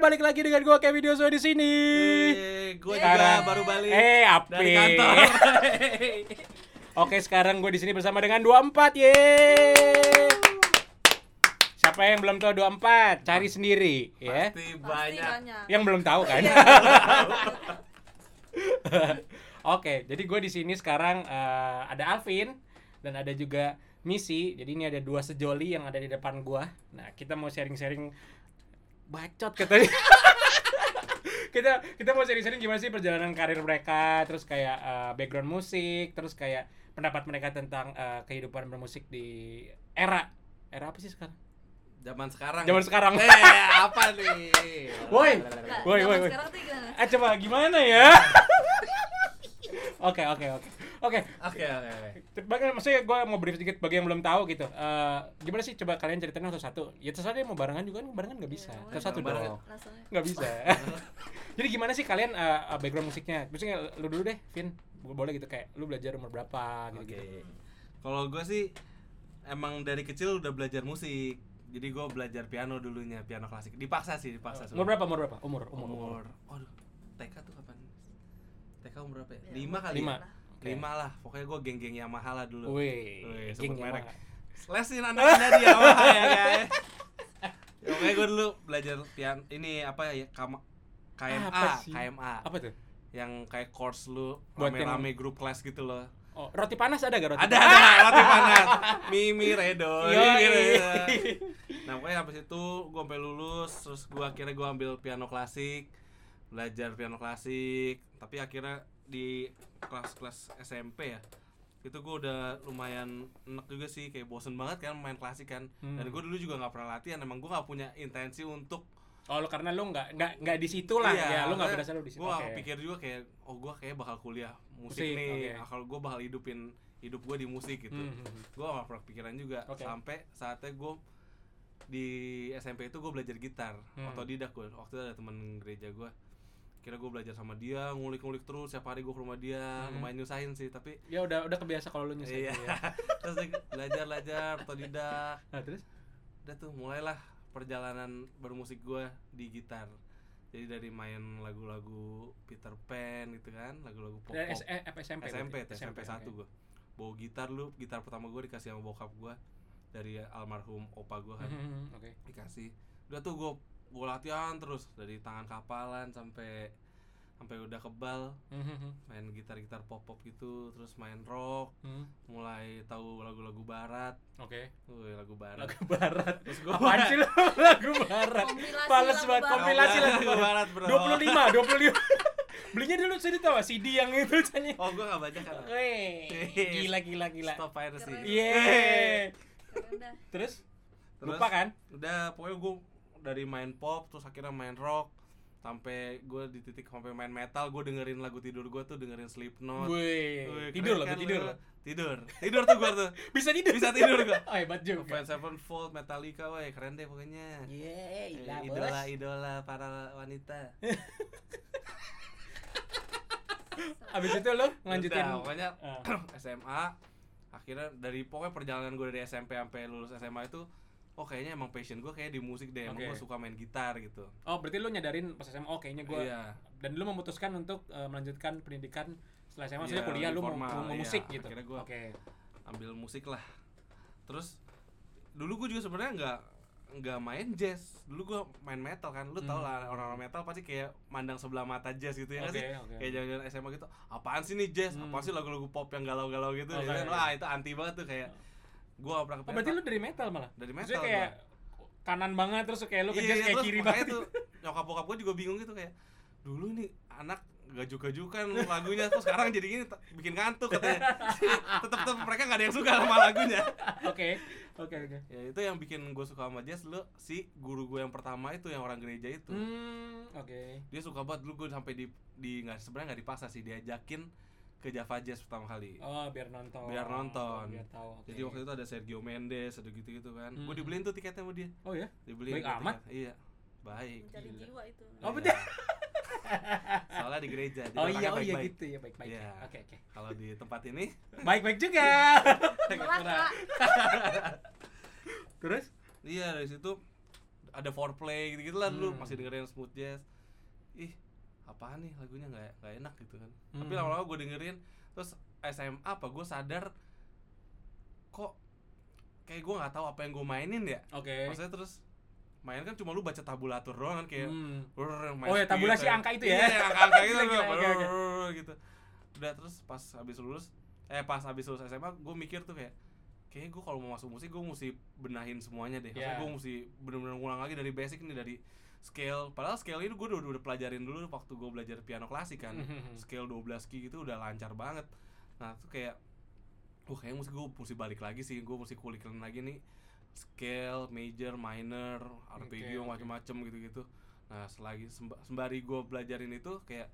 balik lagi dengan gua Kevin Dioso di sini. gue Sekarang- juga baru balik Iya, Eh, apa? dari kantor. Oke, sekarang gue di sini bersama dengan 24. Ye. Siapa yang belum tahu 24? Cari sendiri, ya. Pasti Pasti banyak. Yang belum tahu kan. Iya. Oke, jadi gue di sini sekarang eh, ada Alvin dan ada juga Misi. Jadi ini ada dua sejoli yang ada di depan gua. Nah, kita mau sharing-sharing bacot katanya. kita kita mau sharing-sharing gimana sih perjalanan karir mereka, terus kayak eh, background musik, terus kayak pendapat mereka tentang eh, kehidupan bermusik di era era apa sih sekarang? Zaman sekarang. Zaman sekarang. Eh, apa nih? Woi. Nggak, Woi, woi, zaman woi. Sekarang tuh gimana? Eh coba gimana ya? Oke, oke, oke. Oke, Oke, oke, oke. Baga- maksudnya gue mau brief sedikit bagi yang belum tahu gitu. Eh, gimana sih coba kalian ceritain satu-satu? Ya terserah deh mau barengan juga kan barengan nggak bisa. Iya, boleh. satu-satu dong. Barengan. Langsung aja. Nggak bisa. Jadi gimana sih kalian eh, eh, background musiknya? Maksudnya lu dulu deh, Vin. Bo- Boleh gitu kayak lu belajar umur berapa gitu. Oke. Kalau gue sih emang dari kecil udah belajar musik. Jadi gue belajar piano dulunya, piano klasik. Dipaksa sih, dipaksa. Umur sebenarnya. berapa? Umur berapa? Umur, umur, umur. Umur. Waduh, TK tuh kapan? TK umur berapa ya? Ya, Lima kali. Lima. ya? Lima lah. Pokoknya gue geng-geng Yamaha lah dulu. Wih, Wih, geng sebut merek. merek. Lesin anak anda di Yamaha ya guys. Ya, Pokoknya gue dulu belajar pian ini apa ya kam- KMA, Apa sih? KMA Apa tuh? yang kayak course lu Buat rame-rame grup kelas gitu loh. Oh, roti panas ada gak roti? Ada panas? ada latih panas. Mimi Redo, Yoi. Mimi Redo. Nah, pokoknya sampai situ gue sampai lulus, terus gue akhirnya gue ambil piano klasik, belajar piano klasik, tapi akhirnya di kelas-kelas SMP ya itu gue udah lumayan enak juga sih kayak bosen banget kan main klasik kan dan Hmm. gue dulu juga nggak pernah latihan emang gue nggak punya intensi untuk Oh, lu karena lu nggak nggak nggak di situ lah. Ya, lu nggak maksudnya berasa lu di situ. Iya, gua Oke. pikir juga kayak oh gua kayak bakal kuliah musik, Musik, nih oke. kalau gua bakal hidupin hidup gua di musik gitu Hmm, hmm, hmm. gua gak pernah pikiran juga Oke. sampai saatnya gua di SMP itu gua belajar gitar Hmm. otodidak gua waktu itu ada teman gereja gua kira gua belajar sama dia ngulik-ngulik terus setiap hari gua ke rumah dia Hmm. lumayan nyusahin sih tapi Ya udah udah kebiasa kalau lu nyusahin. iya ya. terus belajar belajar otodidak Nah, terus udah tuh mulailah perjalanan bermusik gue di gitar jadi dari main lagu-lagu Peter Pan gitu kan lagu-lagu pop Dan S- eh, apa SMP? SMP berarti? SMP satu gue bawa gitar lu gitar pertama gue dikasih sama bokap gue dari almarhum opa gue oke. kan Mhm, Oke. dikasih udah tuh gue gue latihan terus dari tangan kapalan sampai sampai udah kebal Mhm, main gitar-gitar pop pop gitu terus main rock mhm. mulai tahu lagu-lagu barat Oke. Wih, lagu barat Lagu barat. terus gue Apaan sih lo lagu barat? Kompilasi Pales lagu banget barat. kompilasi lagu Lagu barat. barat, bro. 25, 25. Belinya dulu CD tau gak? CD yang itu canya. Oh, gue gak baca kan. Weh, gila gila gila. Stop piracy. Keren. Yeay. Keren dah. Terus? Terus? Lupa kan? Udah, pokoknya gue dari main pop terus akhirnya main rock sampai gue di titik sampai main metal gue dengerin lagu tidur gue tuh dengerin Slipknot. Wih, Wih, tidur keren lah, kan tidur lu? lah. Tidur. Tidur tuh gue tuh. Bisa tidur. Bisa tidur gua. Oh, hebat juga. Avenged Sevenfold, Metallica, woi keren deh pokoknya. Yeay, Eh, lah, idola bos. idola para wanita. Abis itu lo lanjutin. Udah, pokoknya Ah. SMA akhirnya dari pokoknya perjalanan gue dari SMP sampai lulus SMA itu oh kayaknya emang passion gue kayak di musik deh emang Oke. gue suka main gitar gitu Oh, berarti lo nyadarin pas SMA, oh kayaknya gue iya dan lu memutuskan untuk eh, melanjutkan pendidikan setelah SMA maksudnya Iya, kuliah lu mau, lebih formal, mau, mau iya. musik gitu. Akhirnya gua- Oke. ambil musik lah terus dulu gue juga sebenarnya nggak nggak main jazz dulu gue main metal kan lu tau lah orang-orang metal pasti kayak mandang sebelah mata jazz gitu ya nggak Hmm. Oke, sih oke. kayak jangan-jangan SMA gitu apaan sih nih jazz Hmm. apaan sih lagu-lagu pop yang galau-galau gitu Oke, Ya kan? iya. wah itu anti banget tuh kayak gue gak pernah Oh, berarti lu dari metal malah. dari metal Maksudnya kayak gua. Iya, kanan banget terus kayak lu ke jazz kayak terus kiri makanya banget. tuh nyokap bokap gue juga bingung gitu kayak dulu nih anak gajuk-gajukan lagunya terus sekarang jadi gini t- bikin ngantuk katanya tetep tetep mereka nggak ada yang suka sama lagunya Oke. Oke, oke. ya itu yang bikin gue suka sama jazz lu si guru gue yang pertama itu yang orang gereja itu Hmm, oke. dia suka banget dulu gue sampai di di nggak sebenarnya nggak dipaksa sih diajakin ke Java Jazz pertama kali Oh, biar nonton. Biar nonton. Biar tahu. jadi waktu itu ada Sergio Mendes ada gitu-gitu kan gue Hmm. dibeliin tuh tiketnya sama dia Oh ya. dibeliin Baik gua amat. tiket. iya baik Mencari Gila. jiwa itu. Oh, Iya. betul. soalnya di gereja jadi Oh iya, orangnya oh iya baik-baik. gitu ya, baik-baik. ya. Iya. Oke, oke. kalau di tempat ini Baik-baik juga. Neraka. Terus? iya dari situ ada foreplay gitu gitu lah dulu Hmm. masih dengerin smooth jazz ih apaan nih lagunya nggak nggak enak gitu kan tapi Hmm. lama-lama gue dengerin terus SMA apa gue sadar kok kayak gue nggak tahu apa yang gue mainin ya Oke. maksudnya terus main kan cuma lu baca tabulatur doang kan kayak Hmm. Brrr, main Oh ya, speed, tabulasi kayak- angka itu ya? Iya, yang angka-angka gitu Gila, gila, brrr, oke, oke. brrr, gitu. Udah terus pas habis lulus eh pas habis lulus SMA gue mikir tuh kayak kayaknya gue kalau mau masuk musik gue mesti benahin semuanya deh. Iya. Maksudnya gue mesti bener-bener ngulang lagi dari basic nih dari scale. Padahal scale ini gue udah, udah pelajarin dulu waktu gue belajar piano klasik kan. Mhm. Scale 12 ki gitu udah lancar banget. Nah, tuh kayak wah kayaknya mesti gue mesti balik lagi sih, gue mesti kulikin lagi nih scale, major, minor, Oke, arpeggio oke. macem-macem gitu-gitu. Nah, selagi semb- sembari gue belajarin itu kayak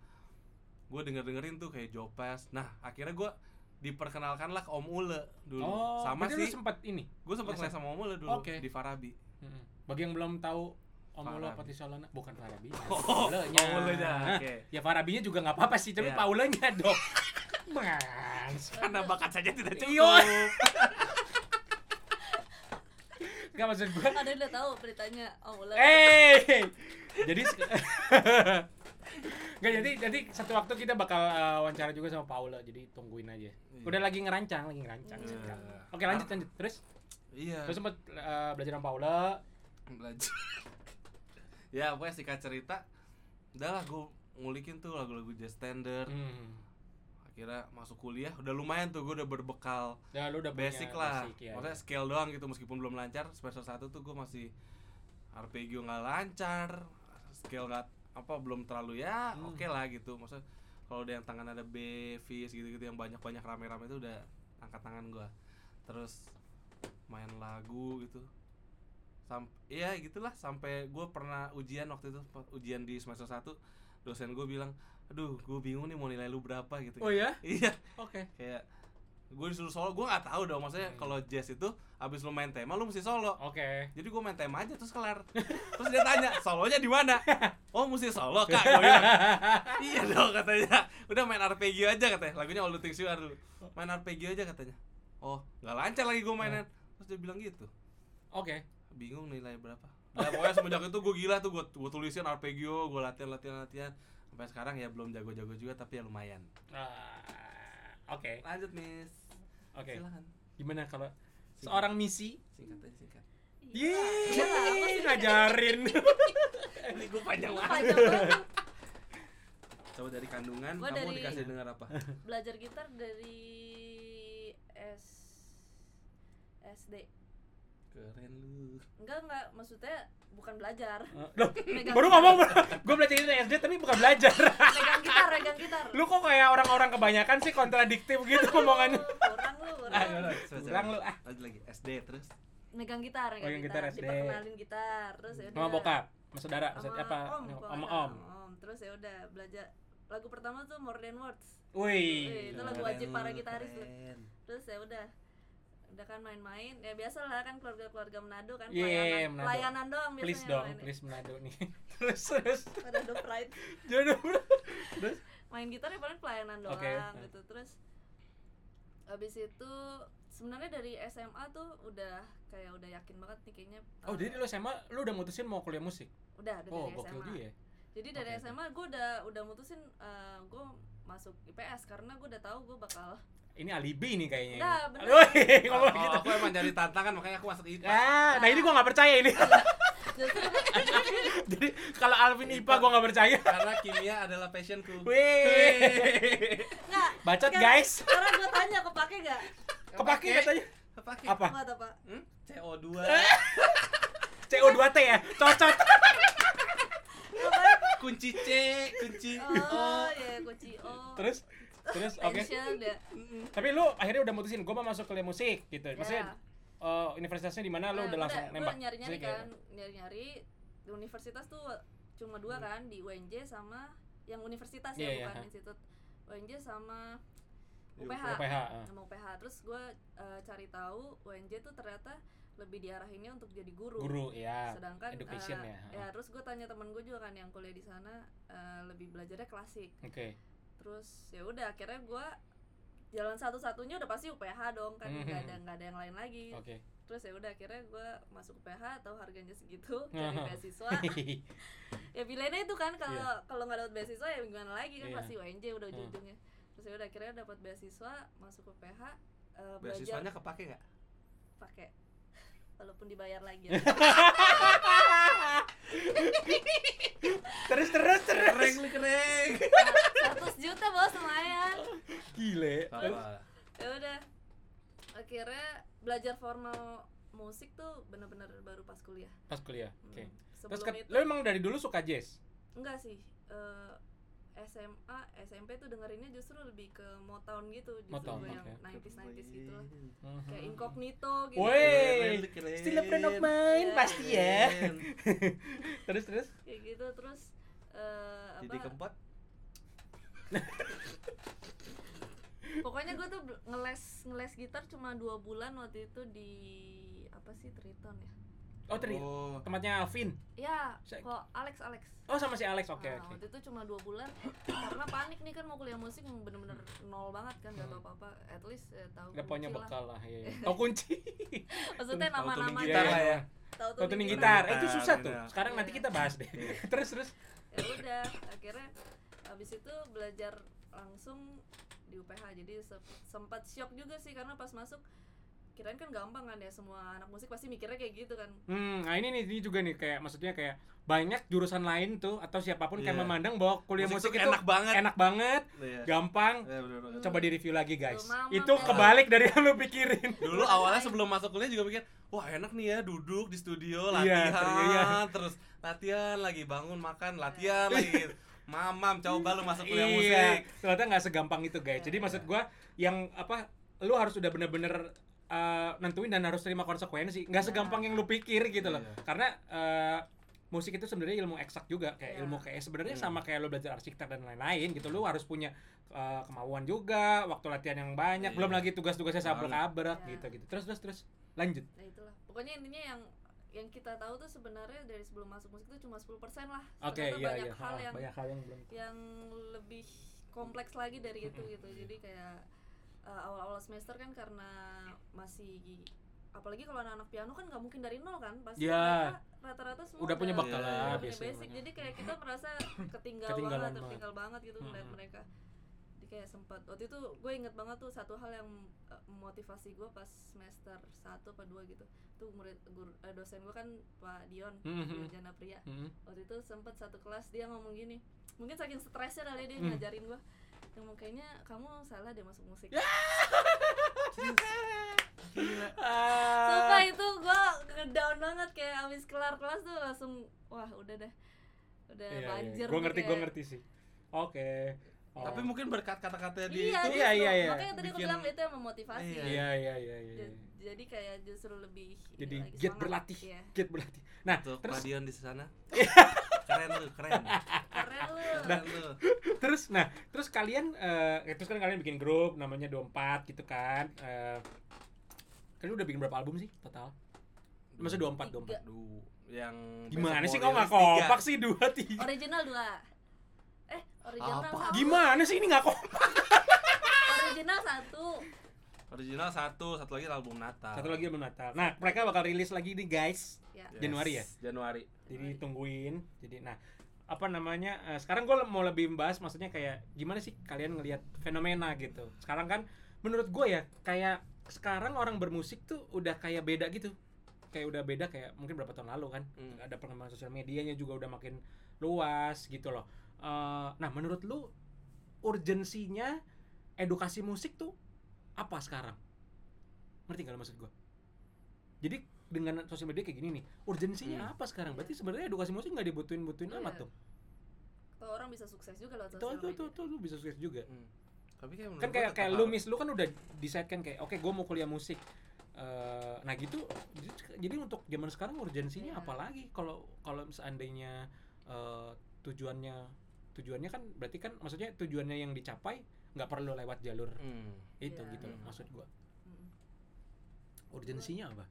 gue denger-dengerin tuh kayak Jopas. Nah, akhirnya gue diperkenalkan lah ke Om Ule dulu. Oh, sama berarti lu sih, sempat ini. gue sempet les- les sama Om Ule dulu Oke. di Farabi. Mm-mm. Bagi yang belum tahu Om Ulo Farabi. Patisolana bukan Farabi. Oh, Paulenya. Om Ulenya, Hah? oke. Ya Farabinya juga nggak apa-apa sih, tapi Iya. Paulenya dong. Mas. Karena bakat saja tidak Iya. cukup. Gak maksud gua. Ada udah tahu beritanya Oh, Om Ulet. Eh. Jadi Gak jadi jadi satu waktu kita bakal eh, wawancara juga sama Paula jadi tungguin aja. Iya. Udah lagi ngerancang, lagi ngerancang Iya. sekarang. Oke, Ah. lanjut lanjut. Terus Iya. terus sempat eh, belajar sama Paula. belajar ya pokoknya singkat cerita udahlah gue ngulikin tuh lagu-lagu jazz standard Hmm. akhirnya masuk kuliah udah lumayan tuh gue udah berbekal Ya lu udah punya basic lah basic, ya. maksudnya scale doang gitu meskipun belum lancar semester satu tuh gue masih arpeggio nggak lancar scale nggak apa belum terlalu ya Hmm. oke lah gitu maksudnya kalau udah yang tangan ada B, fis gitu-gitu yang banyak-banyak rame-rame itu udah angkat tangan gue terus main lagu gitu Sam iya gitulah sampai gue pernah ujian waktu itu pas ujian di semester 1 dosen gue bilang aduh gue bingung nih mau nilai lu berapa gitu Oh ya? iya Oke. kayak gue disuruh solo gue nggak tahu dong maksudnya Hmm. kalau jazz itu abis lu main tema lu mesti solo Oke. jadi gue main tema aja terus kelar terus dia tanya solonya di mana oh mesti solo kak gue bilang iya dong katanya udah main arpeggio aja katanya lagunya All the Things You Are dulu main arpeggio aja katanya oh nggak lancar lagi gue mainin terus dia bilang gitu Oke. bingung nilai berapa Nah, pokoknya semenjak itu gue gila tuh gue gue tulisin arpeggio gue latihan latihan latihan sampai sekarang ya belum jago-jago juga tapi ya lumayan Ah, Oke. lanjut nis Oke. silakan Gimana kalau seorang misi? singkat aja singkat Yeay, Iya, apa sih? ngajarin. ini gue panjang Lu banget panjang banget. coba dari kandungan Gua kamu dari- dikasih dengar apa Belajar gitar dari S SD. keren lu Enggak enggak, maksudnya bukan belajar. Eh, Loh, Megang baru gitar. ngomong gue belajar itu SD tapi bukan belajar. Megang gitar, megang gitar. Lu kok kayak orang-orang kebanyakan sih kontradiktif gitu omongannya. Kurang lu, kurang. Kurang lu ah. lagi lagi SD terus megang gitar, Megang gitar SD. diperkenalin gitar, terus ya udah. Sama bokap, sama saudara, Sama maksud- apa? Om, kalau Sama nggak salah, om. sama om. Terus ya udah belajar lagu pertama tuh More Than Words. Wih. Wih, itu lagu wajib para gitaris tuh. Terus ya udah udah kan main-main ya biasa lah kan keluarga-keluarga Manado kan Yeay, pelayanan, Iya, Manado. pelayanan doang biasanya Please dong, main. please menado nih. terus terus. Manado Pride Jodoh. Terus main gitar ya paling pelayanan doang Oke. gitu terus abis itu sebenarnya dari SMA tuh udah kayak udah yakin banget nih kayaknya Oh, eh, jadi lu SMA lu udah mutusin mau kuliah musik. udah udah Oh, dari gokil SMA juga ya. jadi dari Oke, oke. SMA gue udah udah mutusin eh, gue masuk IPS karena gue udah tahu gue bakal Ini alibi nih kayaknya. Nah, ini. bener. Oh, Woi, kalau ngomong gitu. Oh, aku emang nyari tantangan makanya aku masuk IPA Ah, nah ini gua nggak percaya ini. Jadi kalau Alvin IPA gua nggak percaya. karena kimia adalah passionku Wih. nggak Bacot Nggak. guys. karena gue tanya kepake gak Kepake katanya. kepake Apa? Ah. nggak tau pak Hmm? CO2 CO2T ya. Cocot. kunci C kunci oh ya kunci oh Terus terus oke. pension ya Tapi lu akhirnya udah mutusin gua mau masuk kuliah musik gitu. Maksudnya Ya. eh, universitasnya di mana lu Nah, udah langsung gua nembak. ya? nyari-nyari Maksudnya kayak, kan nyari-nyari di universitas tuh cuma dua kan di UNJ sama yang universitas ya Hmm. Iya, iya, bukan ha. institut UNJ sama Di UPH UPH. ah. sama UPH terus gue cari tahu UNJ tuh ternyata lebih diarahinnya untuk jadi guru, Guru ya. sedangkan education eh, ya, ha. ya terus gue tanya temen gue juga kan yang kuliah di sana eh, lebih belajarnya klasik eh. Oke. terus ya udah akhirnya gue jalan satu-satunya udah pasti UPH dong kan nggak ada nggak ada yang lain lagi Mhm. Oke. terus ya udah akhirnya gue masuk PH tahu harganya segitu cari Aha. beasiswa ya pilihannya itu kan kalau kalau nggak dapat beasiswa ya gimana lagi kan Iya. pasti UNJ udah Hmm. ujung-ujungnya terus ya udah akhirnya dapat beasiswa masuk ke PH eh, belajar beasiswanya kepake nggak pakai walaupun dibayar lagi ya. terus terus terus. kering lu kering 100 juta bos lumayan Gile. apa ya udah akhirnya belajar formal musik tuh bener-bener baru pas kuliah Pas kuliah. Hmm. Oke. Terus sebelum ke, itu lu emang dari dulu suka jazz? enggak sih eh, SMA SMP tuh dengerinnya justru lebih ke Motown gitu justru Motown, gue yang oke. 90s 90s gitu lah kayak Mhm. incognito Iya. gitu Woi, Keren, keren. still a friend of mine pasti ya. Keren. terus terus. kayak gitu terus eh, Didi apa Kempot pokoknya gue tuh bel- ngeles ngeles gitar cuma dua bulan waktu itu di apa sih Triton ya Oh, teri. oh Tempatnya Alvin. ya Saya- kok Alex Alex Oh, sama si Alex. Oke, Nah, oke. waktu itu cuma dua bulan karena panik nih kan mau kuliah musik bener-bener nol banget kan gak Hmm. tau apa-apa at least eh, tahu Udah punya kunci lah. bekal lah, iya. iya. Tahu kunci. Iya, maksudnya Tahu tuning nama-nama gitar lah ya. tahu Tahu tuning tuning gitar. gitar. Eh, itu susah tuh. Iya. Sekarang nanti kita bahas deh. Iya. terus terus. ya udah akhirnya habis itu belajar langsung di UPH jadi se- sempat shock juga sih karena pas masuk kirain kan gampang kan ya semua anak musik pasti mikirnya kayak gitu kan Hmm, nah ini nih ini juga nih kayak maksudnya kayak banyak jurusan lain tuh atau siapapun kayak Iya. memandang bahwa kuliah musik, Musik tuh itu enak banget. enak banget, Iya. gampang. Iya, bener-bener. Coba di-review lagi, guys. Tuh, mama, itu mama. kebalik dari yang lu pikirin. dulu awalnya sebelum masuk kuliah juga mikir wah enak nih ya duduk di studio Iya, latihan iya. terus latihan lagi bangun makan latihan lagi gitu. mamam coba lu masuk kuliah musik Iya, ternyata nggak segampang itu guys. Iya. Jadi maksud gua yang apa, lu harus udah bener-bener eh, nentuin dan harus terima konsekuensi. Iya. Nggak segampang yang lu pikir gitu loh. Iya. Karena eh, musik itu sebenarnya ilmu eksak juga, kayak Iya. ilmu kayak sebenarnya Iya. sama kayak lu belajar arsitek dan lain-lain gitu. Lu harus punya eh, kemauan juga, waktu latihan yang banyak, Iya. belum lagi tugas-tugasnya Banget. sabrek-abrek Iya. gitu-gitu. Terus terus terus lanjut. nah itulah pokoknya intinya yang yang kita tahu tuh sebenarnya dari sebelum masuk musik itu cuma 10% lah Oke, Ternyata iya banyak iya. hal Ah, yang Banyak hal yang belum. yang lebih kompleks lagi dari itu gitu jadi kayak eh, awal-awal semester kan karena masih apalagi kalau anak-anak piano kan nggak mungkin dari nol kan pasti Iya. mereka rata-rata semua Udah punya bakal Iya, lah udah punya biasanya. basic jadi kayak kita merasa ketinggal Ketinggalan banget banget. tertinggal banget gitu Mm-mm. melihat mereka jadi kayak sempat waktu itu gue inget banget tuh satu hal yang eh, memotivasi gue pas semester satu apa dua gitu tuh murid guru, eh, dosen gue kan Pak Dion Mm-mm. Dion Jana Priya Mm-mm. waktu itu sempat satu kelas dia ngomong gini mungkin saking stresnya kali ya dia Hmm. ngajarin gua ngomong kayaknya kamu salah deh masuk musik Ya. Gila. Ah. sumpah itu gua down banget kayak abis kelar kelas tuh langsung wah udah deh udah Iya, iya. banjir Gua nih ngerti, kayak- gue ngerti sih. Oke. Oh. tapi mungkin berkat kata-kata dia iya, itu Iya, gitu. iya, iya. makanya tadi aku Bikin- bilang itu yang memotivasi Iya. Iya, iya, iya, iya. Ja- jadi kayak justru lebih ini Jadi lagi, giat semangat. berlatih, Iya. giat berlatih. Nah, tuh terus Iya. Nah, Pak Dion di sana keren lu keren keren lu keren lu terus nah, terus kalian eh terus kan kalian bikin grup namanya 24 gitu kan. Eh kalian udah bikin berapa album sih total? Masa 24, 24. Tiga. Aduh, yang Gimana sih Basic kok nggak Warriors tiga. kompak sih 2 3? original dua eh original Apa? satu Gimana sih ini nggak kompak? original satu original satu satu lagi album Natal Satu lagi album Natal. Nah, mereka bakal rilis lagi nih guys. ya Yes, Januari ya? Januari jadi tungguin jadi nah apa namanya eh, sekarang gue mau lebih membahas maksudnya kayak gimana sih kalian ngelihat fenomena gitu sekarang kan menurut gue ya kayak sekarang orang bermusik tuh udah kayak beda gitu kayak udah beda kayak mungkin berapa tahun lalu kan Hmm. ada pengembangan sosial medianya juga udah makin luas gitu loh Eh, nah menurut lu urgensinya edukasi musik tuh apa sekarang ngerti nggak lo maksud gue jadi dengan sosial media kayak gini nih urgensinya Hmm. apa sekarang berarti sebenarnya edukasi musik nggak dibutuhin butuhin Iya. amat tuh Tuh orang bisa sukses juga loh itu tuh tuh tuh lu bisa sukses juga Hmm. tapi kayak menurut kan gua kayak tetap kayak harus- lu mis lu kan udah decide kan kayak oke gue mau kuliah musik Eh, nah gitu jadi- jadi untuk zaman sekarang urgensinya Iya. apa lagi kalau kalau seandainya eh, tujuannya tujuannya kan berarti kan maksudnya tujuannya yang dicapai nggak perlu lewat jalur Hmm. itu Iya. gitu loh maksud gua urgensinya apa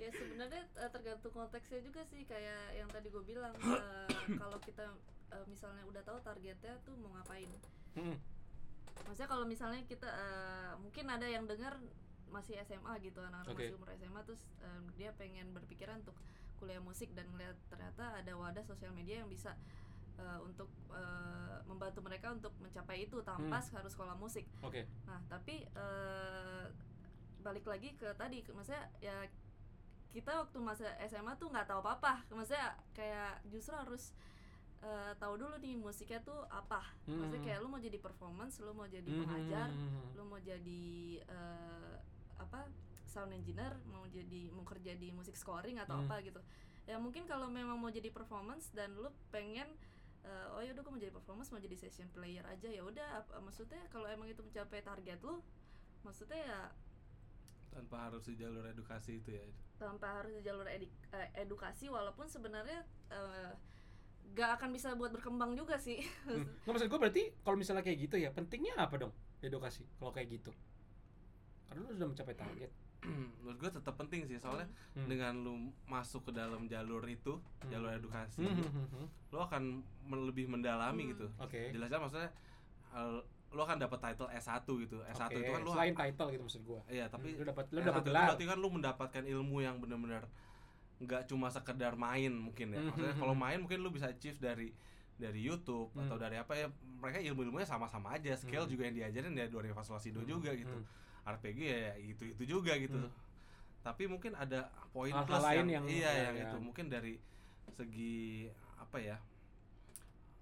ya sebenarnya eh, tergantung konteksnya juga sih kayak yang tadi gue bilang eh, kalau kita eh, misalnya udah tahu targetnya tuh mau ngapain Mm-mm. maksudnya kalau misalnya kita eh, mungkin ada yang dengar masih SMA gitu anak-anak Oke. masih umur SMA terus em, dia pengen berpikiran untuk kuliah musik dan ngeliat ternyata ada wadah sosial media yang bisa eh, untuk eh, membantu mereka untuk mencapai itu tanpa harus sekolah musik Oke. Nah, tapi eh, balik lagi ke tadi, ke- maksudnya ya kita waktu masa SMA tuh nggak tahu apa-apa. Maksudnya kayak justru harus eh, tahu dulu nih musiknya tuh apa. Maksudnya Hmm. kayak lu mau jadi performance, lu mau jadi pengajar, lu mau jadi eh, apa? sound engineer, mau jadi mau kerja di musik scoring atau Hmm. apa gitu. Ya mungkin kalau memang mau jadi performance dan lu pengen eh, oh yaudah gue mau jadi performance mau jadi session player aja ya udah ap- maksudnya kalau emang itu mencapai target lu maksudnya ya tanpa harus di jalur edukasi itu ya tanpa harus di jalur edik- eh, edukasi walaupun sebenarnya eh, gak akan bisa buat berkembang juga sih Hmm. Nggak maksud gue berarti kalau misalnya kayak gitu ya pentingnya apa dong edukasi kalau kayak gitu? Karena lu sudah mencapai target. menurut gue tetap penting sih soalnya Hmm. dengan lu masuk ke dalam jalur itu Hmm. jalur edukasi Hmm, hmm, hmm, hmm. lo akan men- lebih mendalami Hmm. gitu Oke. jelasnya maksudnya eh, lo akan dapat title S1 gitu S1 Oke, itu kan lo selain title gitu maksud gue. iya tapi lu dapat lu S1 dapat itu gelar. berarti kan lu mendapatkan ilmu yang benar-benar nggak cuma sekedar main mungkin ya Mhm. maksudnya kalau main mungkin lu bisa achieve dari dari YouTube Hmm. atau dari apa ya mereka ilmu-ilmunya sama-sama aja skill Hmm. juga yang diajarin ya do re fa sol la si do Hmm, juga gitu hmm. RPG ya itu itu juga gitu Hmm. tapi mungkin ada poin Hal-hal plus lain yang- yang, iya ya, yang ya. itu mungkin dari segi apa ya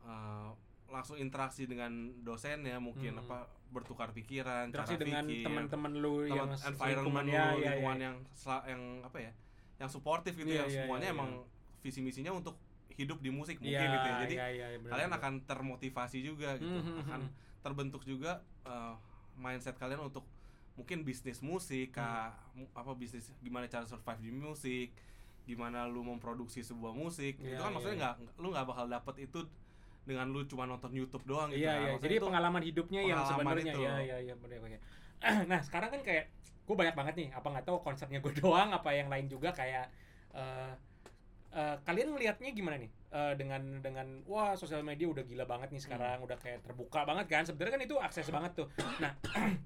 eh, langsung interaksi dengan dosen ya mungkin Hmm. apa bertukar pikiran Interaksi cara dengan pikir teman-teman lu yang teman ya. environment lingkungannya, ya, lu, ya, lingkungan ya. yang sela- yang apa ya yang suportif gitu Iya, yang iya, semuanya iya, emang iya. visi misinya untuk hidup di musik mungkin Iya, gitu ya jadi iya, iya, benar, kalian benar. akan gitu termotivasi juga gitu Mhm, akan mhm. terbentuk juga eh, mindset kalian untuk mungkin bisnis Mhm. musik kah, mu- apa bisnis gimana cara survive di musik gimana lu memproduksi sebuah musik Iya, itu kan iya, maksudnya iya. nggak lu nggak bakal dapet itu dengan lu cuma nonton YouTube doang gitu Iya kan. iya. Maksudnya Jadi itu- pengalaman hidupnya yang pengalaman sebenarnya. itu. Iya iya iya benar benar. nah sekarang kan kayak gue banyak banget nih. Apa nggak tahu konsepnya gue doang. Apa yang lain juga kayak. eh eh, kalian ngelihatnya gimana nih Eh, dengan dengan wah sosial media udah gila banget nih sekarang udah kayak terbuka banget kan sebenarnya kan itu akses banget tuh nah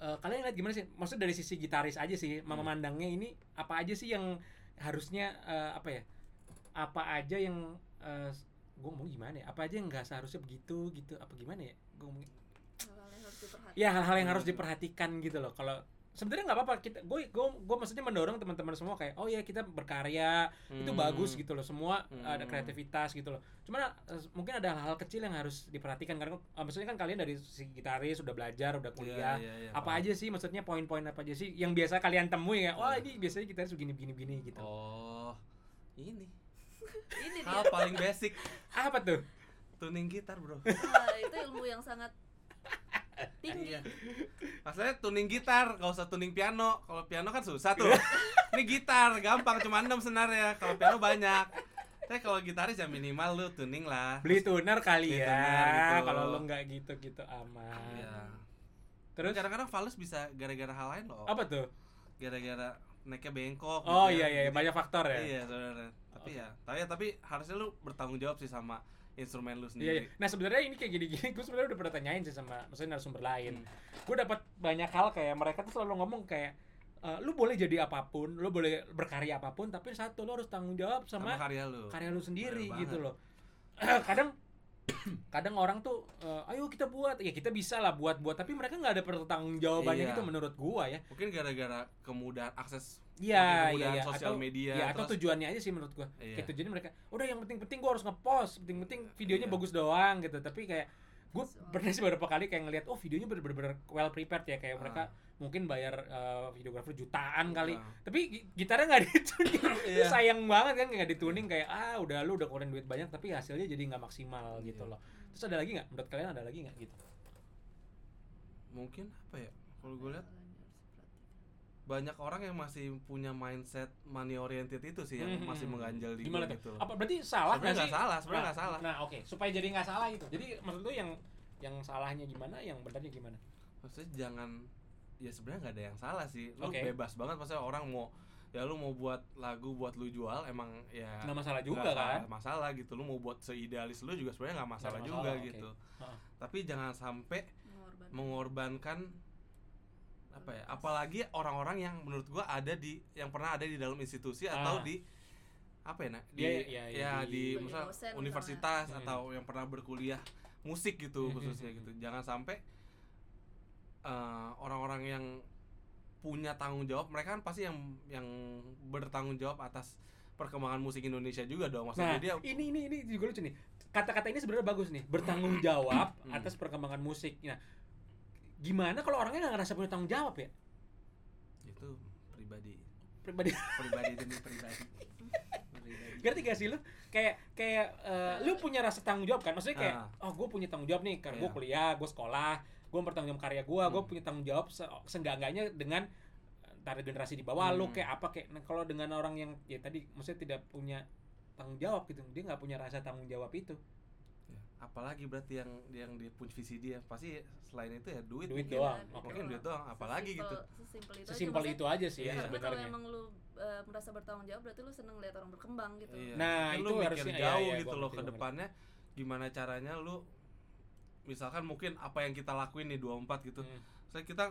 eh, kalian lihat gimana sih maksud dari sisi gitaris aja sih memandangnya ini apa aja sih yang harusnya eh, apa ya apa aja yang eh, gue mau gimana ya apa aja yang nggak seharusnya begitu gitu apa gimana ya gue ngomong hal-hal yang harus diperhatikan ya hal-hal yang harus Hmm. diperhatikan gitu loh kalau sebenarnya nggak apa-apa kita gue gue gue maksudnya mendorong teman-teman semua kayak oh ya kita berkarya itu Hmm. bagus gitu loh semua Hmm. ada kreativitas gitu loh cuman eh, mungkin ada hal-hal kecil yang harus diperhatikan karena eh, maksudnya kan kalian dari si gitaris udah belajar udah Iya, kuliah iya, iya, apa paham. aja sih maksudnya poin-poin apa aja sih yang biasa kalian temui ya wah ini biasanya gitaris begini begini begini gitu Hmm. oh ini ini dia hal paling basic apa tuh tuning gitar bro Ah, itu ilmu yang sangat tinggi iya maksudnya tuning gitar gak usah tuning piano kalau piano kan susah tuh ini gitar gampang cuma 6 senar ya kalau piano banyak tapi kalau gitaris ya minimal lu tuning lah beli tuner kali Beli ya tuner gitu. kalau lo nggak gitu gitu aman Iya. terus kadang-kadang fals bisa gara-gara hal lain loh apa tuh gara-gara necknya bengkok oh iya gitu ya. iya iya, Jadi- banyak faktor ya iya saudara tapi ya tapi ya tapi harusnya lu bertanggung jawab sih sama instrumen lu Iya, iya. sendiri Nah sebenarnya ini kayak gini-gini, gue sebenarnya udah pernah tanyain sih sama maksudnya narasumber lain. Hmm. Gue dapat banyak hal kayak mereka tuh selalu ngomong kayak e, lu boleh jadi apapun, lu boleh berkarya apapun, tapi satu lu harus tanggung jawab sama sama, karya lu karya lu sendiri Bener gitu banget. loh. kadang kadang orang tuh e, ayo kita buat, ya kita bisa lah buat-buat, tapi mereka nggak ada pertanggung jawabannya Iya. gitu menurut gua ya. mungkin gara-gara kemudahan akses Iya, makin iya, kemudahan iya. sosial atau, ya, media atau terus- tujuannya aja sih menurut gua. Iya. Kayak tujuannya Gitu. mereka, udah yang penting-penting gua harus ngepost, penting-penting videonya Iya. bagus doang gitu. Tapi kayak gue Visual. pernah sih beberapa kali kayak ngelihat oh videonya bener-bener well prepared ya kayak Ah. mereka mungkin bayar eh, videografer jutaan kali Ah. tapi gi- gitarnya nggak dituning itu Iya. sayang banget kan nggak dituning kayak ah udah lu udah keluarin duit banyak tapi hasilnya jadi nggak maksimal gitu Iya. loh terus ada lagi nggak menurut kalian ada lagi nggak gitu mungkin apa ya kalau gue lihat banyak orang yang masih punya mindset money oriented itu sih yang Mhm. masih mengganjal di gimana gua tuh gitu loh. apa berarti salah Sebenarnya nggak nggak sih? salah, sebenarnya Nah, nggak salah. nah oke supaya jadi nggak salah gitu jadi maksud lu yang yang salahnya gimana yang benarnya gimana Maksudnya jangan ya sebenarnya nggak ada yang salah sih. Lu Oke. bebas banget maksudnya orang mau ya lu mau buat lagu buat lu jual emang ya nggak masalah juga nggak kan masalah gitu lu mau buat seidealis lu juga sebenarnya nggak masalah, Nggak juga masalah, oke. gitu Heeh. tapi jangan sampai mengorbankan mengorbankan apa ya apalagi orang-orang yang menurut gua ada di yang pernah ada di dalam institusi atau Ah. di apa ya nak di Iya, iya, iya, ya di- di Sebagai misal dosen universitas misalnya. atau yang pernah berkuliah musik Mhm, gitu khususnya mhm. gitu jangan sampai eh, orang-orang yang punya tanggung jawab mereka kan pasti yang yang bertanggung jawab atas perkembangan musik Indonesia juga dong nah maksudnya dia ini ini ini juga lucu nih kata-kata ini sebenarnya bagus nih bertanggung jawab Hmm. atas perkembangan musik nah gimana kalau orangnya nggak ngerasa punya tanggung jawab ya itu pribadi pribadi pribadi demi pribadi pribadi ngerti gak sih lu kayak kayak eh, lu punya rasa tanggung jawab kan maksudnya kayak oh gue punya tanggung jawab nih karena gue Ah. Iya. kuliah gue sekolah gue bertanggung jawab karya gue gue Hmm. punya tanggung jawab se seenggak-enggaknya dengan antara generasi di bawah lu Hmm. kayak apa kayak nah, kalau dengan orang yang ya tadi maksudnya tidak punya tanggung jawab gitu dia nggak punya rasa tanggung jawab itu Ya, apalagi berarti yang yang di punya visi dia ya. pasti selain itu ya duit, Duit mungkin. doang. Mungkin duit doang apalagi gitu Iya. Gitu. sesimpel itu sesimpel aja. itu aja sih Iya. ya Maksudnya, karena kalau sebenarnya emang lu eh, merasa bertanggung jawab berarti lu seneng lihat orang berkembang gitu Iya. Nah, Mungkin itu lu mikir harusnya- iya, jauh iya, gitu gua ngerti, loh ke gua ngerti. depannya gimana caranya lu misalkan mungkin apa yang kita lakuin nih 24 gitu Hmm. saya kita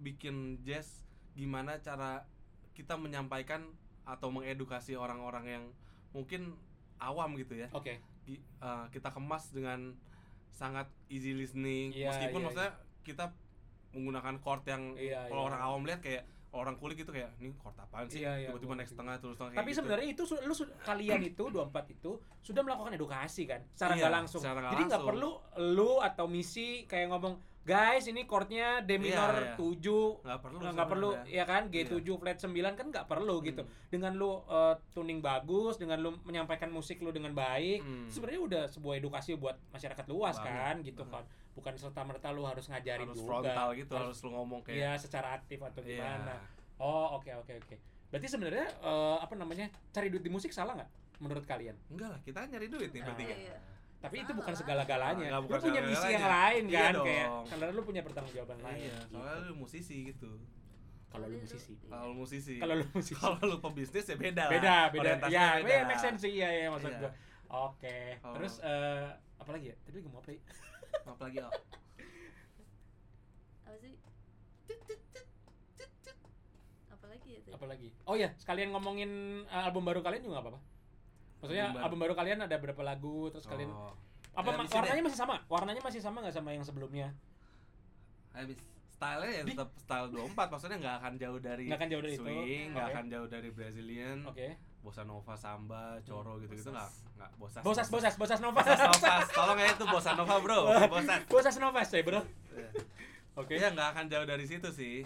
bikin jazz gimana cara kita menyampaikan atau mengedukasi orang-orang yang mungkin awam gitu ya oke di- eh, kita kemas dengan sangat easy listening Iya, meskipun iya, maksudnya kita menggunakan chord yang Iya, kalau iya. orang awam lihat kayak orang kulik itu kayak ini chord apaan sih Iya, iya, tiba-tiba gua naik setengah terus setengah kayak tapi gitu. sebenarnya itu su- lu su- kalian itu 24 itu sudah melakukan edukasi kan secara Iya, nggak langsung secara nggak jadi nggak langsung. perlu lu atau misi kayak ngomong guys ini chordnya D Iya, iya. minor 7 nggak perlu Nah, nggak perlu sebenarnya. Iya. Hmm. ya kan G7 flat 9 kan nggak perlu gitu dengan lu uh, tuning bagus dengan lu menyampaikan musik lu dengan baik Hmm. sebenarnya udah sebuah edukasi buat masyarakat luas Banget, kan gitu banget. kan bukan serta merta lu harus ngajarin harus juga frontal gitu Harus- harus lu ngomong kayak Iya, secara aktif atau Iya. gimana oh oke oke oke berarti sebenarnya uh, apa namanya cari duit di musik salah nggak menurut kalian enggak lah kita nyari duit nih Nah, bertiga iya. tapi itu Salah bukan lah. segala-galanya Nggak, lu bukan punya misi yang segala-galanya. lain Iya kan dong. kayak karena lu punya pertanggung jawaban lain iya gitu. soalnya lu musisi gitu kalau lu Soalnya musisi iya. kalau lu musisi kalau lu musisi kalau lu pebisnis ya beda lah. beda beda Orientasinya ya ya make sense sih iya ya maksud Iya. Oh. gua oke Kalau- terus eh apa lagi ya tadi gua mau apa Iya. ya? apalagi oh, apa sih Tut, tut, tut, tut, tut. apalagi ya tadi apa lagi oh ya sekalian ngomongin eh, album baru kalian juga nggak apa-apa maksudnya Album album baru. baru. kalian ada berapa lagu terus kalian oh. apa Ya, ma- bisa deh. warnanya masih sama warnanya masih sama nggak sama yang sebelumnya habis stylenya ya tetap style 24 maksudnya nggak akan jauh dari Nggak akan jauh dari itu. swing nggak Oke. akan jauh dari Brazilian oke bossa nova samba coro gitu gitu nggak nggak bosas bosas bosas bosas nova bosas novas tolong ya itu bossa nova bro bosas bosas nova ya bro oke ya nggak akan jauh dari situ sih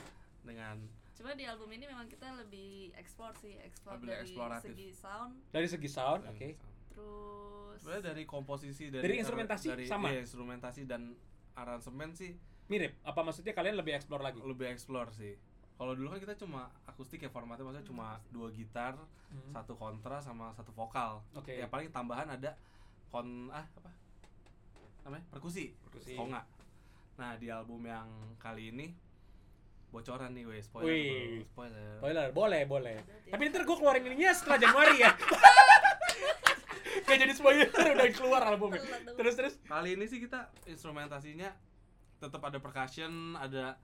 dengan cuma di album ini memang kita lebih eksplor sih eksplor Lebih dari eksploratif. segi sound dari segi sound Iya. oke terus sebenarnya dari komposisi dari, Dari instrumentasi dari, sama? iya, instrumentasi dan aransemen sih mirip apa maksudnya kalian lebih explore lagi lebih explore sih kalau dulu kan kita cuma akustik ya formatnya maksudnya cuma dua gitar Hmm. satu kontra sama satu vokal Oke. ya paling tambahan ada kon ah apa namanya perkusi Perkusi. konga nah di album yang kali ini bocoran nih weh spoiler Wih. bro. spoiler Spoiler, boleh, boleh. Tapi ntar gue keluarin ininya setelah Januari ya. Kayak jadi spoiler udah keluar albumnya. Telat dong. Terus terus. kali ini sih kita instrumentasinya tetap ada percussion ada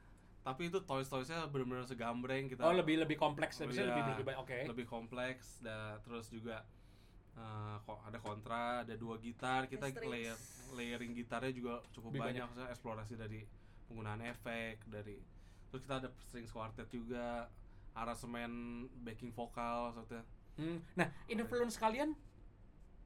tapi itu toys toysnya benar-benar segambreng kita Oh lebih lebih kompleks, Oh, lebih Nah. iya. lebih lebih banyak. Oke. lebih kompleks da, terus juga eh, ko- ada kontra ada dua gitar kita Ada strings. layer layering gitarnya juga cukup Lebih banyak, banyak. Maksudnya eksplorasi dari penggunaan efek dari terus kita ada strings quartet juga aransemen backing vokal maksudnya Hmm. Nah influence kalian,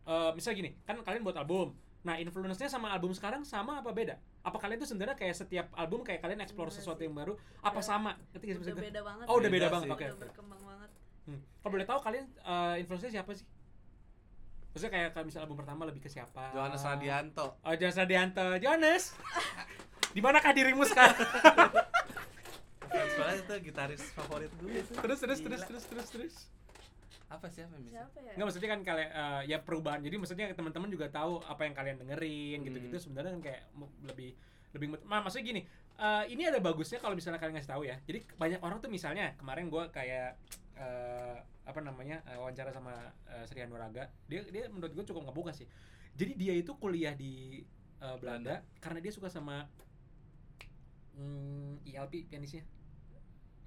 eh misal gini, kan kalian buat album. Nah influence-nya sama album sekarang sama apa beda? Apa kalian tuh sebenarnya kayak setiap album kayak kalian explore Enggak sesuatu sih. yang baru? Apa Udah- sama? Ngerti nggak sih udah maksud gua? beda banget Iya, Oh udah Beda beda sih. banget, oke. udah oke. berkembang banget Hmm. Kalau boleh tahu kalian eh influence-nya siapa sih? Maksudnya kayak kalau misal album pertama lebih ke siapa? Johannes Radianto Oh, Jonas Radianto. Jonas. Di manakah dirimu sekarang? soalnya itu gitaris favorit gue tuh. terus terus terus Gila. terus terus terus. apa siapa yang bisa siapa ya Enggak maksudnya kan kalian eh, ya perubahan. Jadi maksudnya teman-teman juga tahu apa yang kalian dengerin gitu-gitu sebenarnya kan kayak mu- lebih lebih mut- Ma, maksudnya gini, eh, ini ada bagusnya kalau misalnya kalian ngasih tahu ya. Jadi banyak orang tuh misalnya kemarin gua kayak eh, eh, apa namanya eh, wawancara sama eh, Sri Anuraga dia dia menurut gue cukup ngebuka sih jadi dia itu kuliah di eh, Belanda karena dia suka sama mm, ILP pianisnya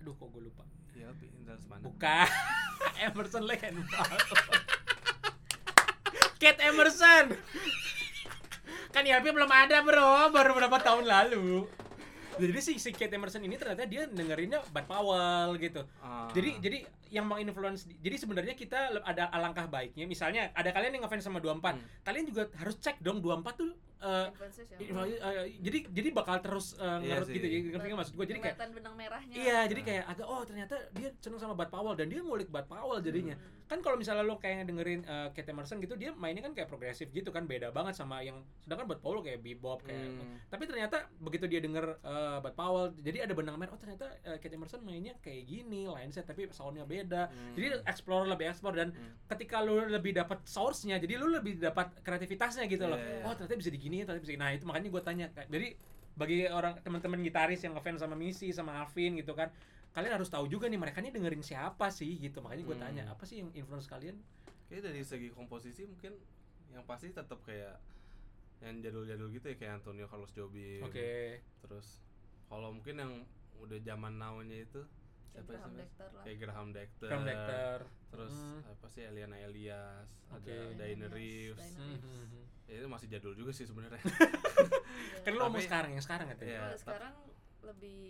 aduh kok gue lupa ILP Indra Lesmana. bukan Emerson Lake and Palmer. Kate Emerson kan ILP belum ada bro baru berapa tahun lalu jadi si, si Kate Emerson ini ternyata dia dengerinnya Bud Powell gitu Ah. jadi jadi yang menginfluence jadi sebenarnya kita le- ada alangkah baiknya misalnya ada kalian yang ngefans sama 24 Hmm. kalian juga harus cek dong 24 tuh eh, Influencer siapa? influ- eh, jadi jadi bakal terus eh, Iya ngerut sih. gitu jadi ngerti nggak maksud gue jadi kayak Kelihatan benang merahnya. iya jadi Nah. kayak agak oh ternyata dia seneng sama Bud Powell dan dia ngulik Bud Powell jadinya Hmm. kan kalau misalnya lo kayak dengerin eh, Kate Emerson gitu dia mainnya kan kayak progresif gitu kan beda banget sama yang sedangkan Bud Powell kayak bebop kayak gitu. Hmm. tapi ternyata begitu dia denger eh, Bud Powell jadi ada benang merah oh ternyata eh, Kate Emerson mainnya kayak gini mindset tapi soundnya beda Hmm. jadi explore lebih explore dan Hmm. ketika lu lebih dapat source-nya jadi lu lebih dapat kreativitasnya gitu loh Iya, iya. oh ternyata bisa digini ternyata bisa digini. nah itu makanya gue tanya Kak. jadi bagi orang teman-teman gitaris yang ngefans sama Misi sama Alvin gitu kan kalian harus tahu juga nih mereka nih dengerin siapa sih gitu makanya gue Hmm. tanya apa sih yang influence kalian Kayaknya dari segi komposisi mungkin yang pasti tetap kayak yang jadul-jadul gitu ya kayak Antonio Carlos Jobim. oke Terus kalau mungkin yang udah zaman now-nya itu Kayak gitu. siapa sih? Graham Mas? Lecter lah. Kayak Graham Dexter. from Lecter Terus Hmm. apa sih Eliana Elias, Oke. ada Diana Reeves. Diana Hmm, Reeves. hmm, hmm. Ya, itu masih jadul juga sih sebenarnya. Iya. kan lo mau Tapi- sekarang yang sekarang kan Iya. tadi? Kalau tapi- sekarang lebih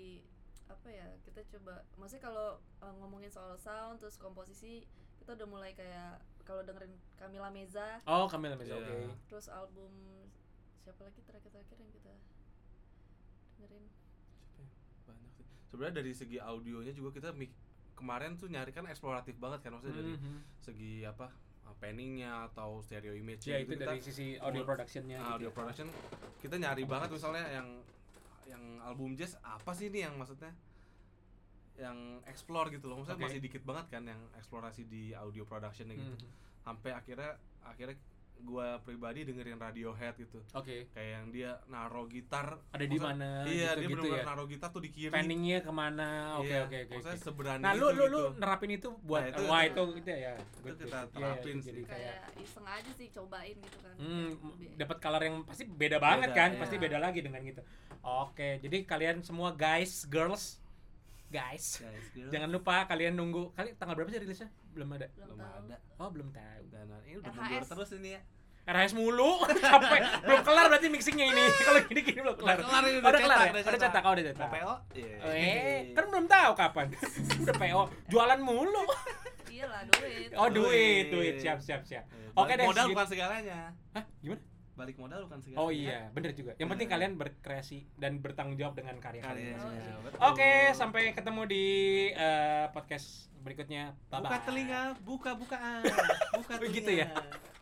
apa ya kita coba maksudnya kalau uh, ngomongin soal sound terus komposisi kita udah mulai kayak kalau dengerin Camila Meza oh Kamil Meza Iya. oke terus album siapa lagi terakhir-terakhir yang kita dengerin Banyak sih. Sebenarnya dari segi audionya juga kita mik- kemarin tuh nyari kan eksploratif banget kan maksudnya dari Mhm. segi apa? uh, panningnya atau stereo gitu. image ya itu dari sisi audio ngulik- production-nya Nah, audio gitu. production kita nyari banget misalnya yang yang album jazz apa sih nih yang maksudnya yang explore gitu loh maksudnya Oke. masih dikit banget kan yang eksplorasi di audio production gitu Hmm. sampai akhirnya akhirnya gua pribadi dengerin Radiohead gitu oke kayak yang dia naro gitar ada di maksudnya- mana iya dia gitu, gitu benar-benar ya naro gitar tuh di kiri panningnya kemana oke Iya, oke oke maksudnya oke. seberani nah lu itu lu gitu. lu nerapin itu buat Nah, itu- wah itu itu- gitu ya good, kita good, good. Iya, terapin itu sih. jadi kayak kayak iseng aja sih cobain gitu kan hmm, Lebih- dapat color yang pasti beda banget Beda, kan iya. pasti beda lagi dengan gitu oke jadi kalian semua guys girls guys Guys, gitu. jangan lupa kalian nunggu kali tanggal berapa sih rilisnya belum ada belum belum tahu ada oh belum tahu dan ini udah RHS. mundur terus ini ya RHS mulu capek belum kelar berarti mixingnya ini kalau gini gini belum kelar Udah kelar ini, udah udah kelar cetak, ya? udah udah cetak. cetak oh, udah cetak mau PO Iya. Eh, kan belum tahu kapan. Udah PO, jualan mulu. iya lah duit Oh, Duit. duit, duit, siap, siap, siap. Eh, Oke balik deh, modal segit- bukan segalanya Hah, gimana? balik modal bukan ya? segalanya Oh iya, bener juga. Yang penting Bener. kalian berkreasi dan bertanggung jawab dengan karya kalian. Karya, masing-masing. betul. iya, Oke, sampai ketemu di eh, podcast berikutnya. Bye-bye. buka telinga buka bukaan buka Oh, telinga gitu ya?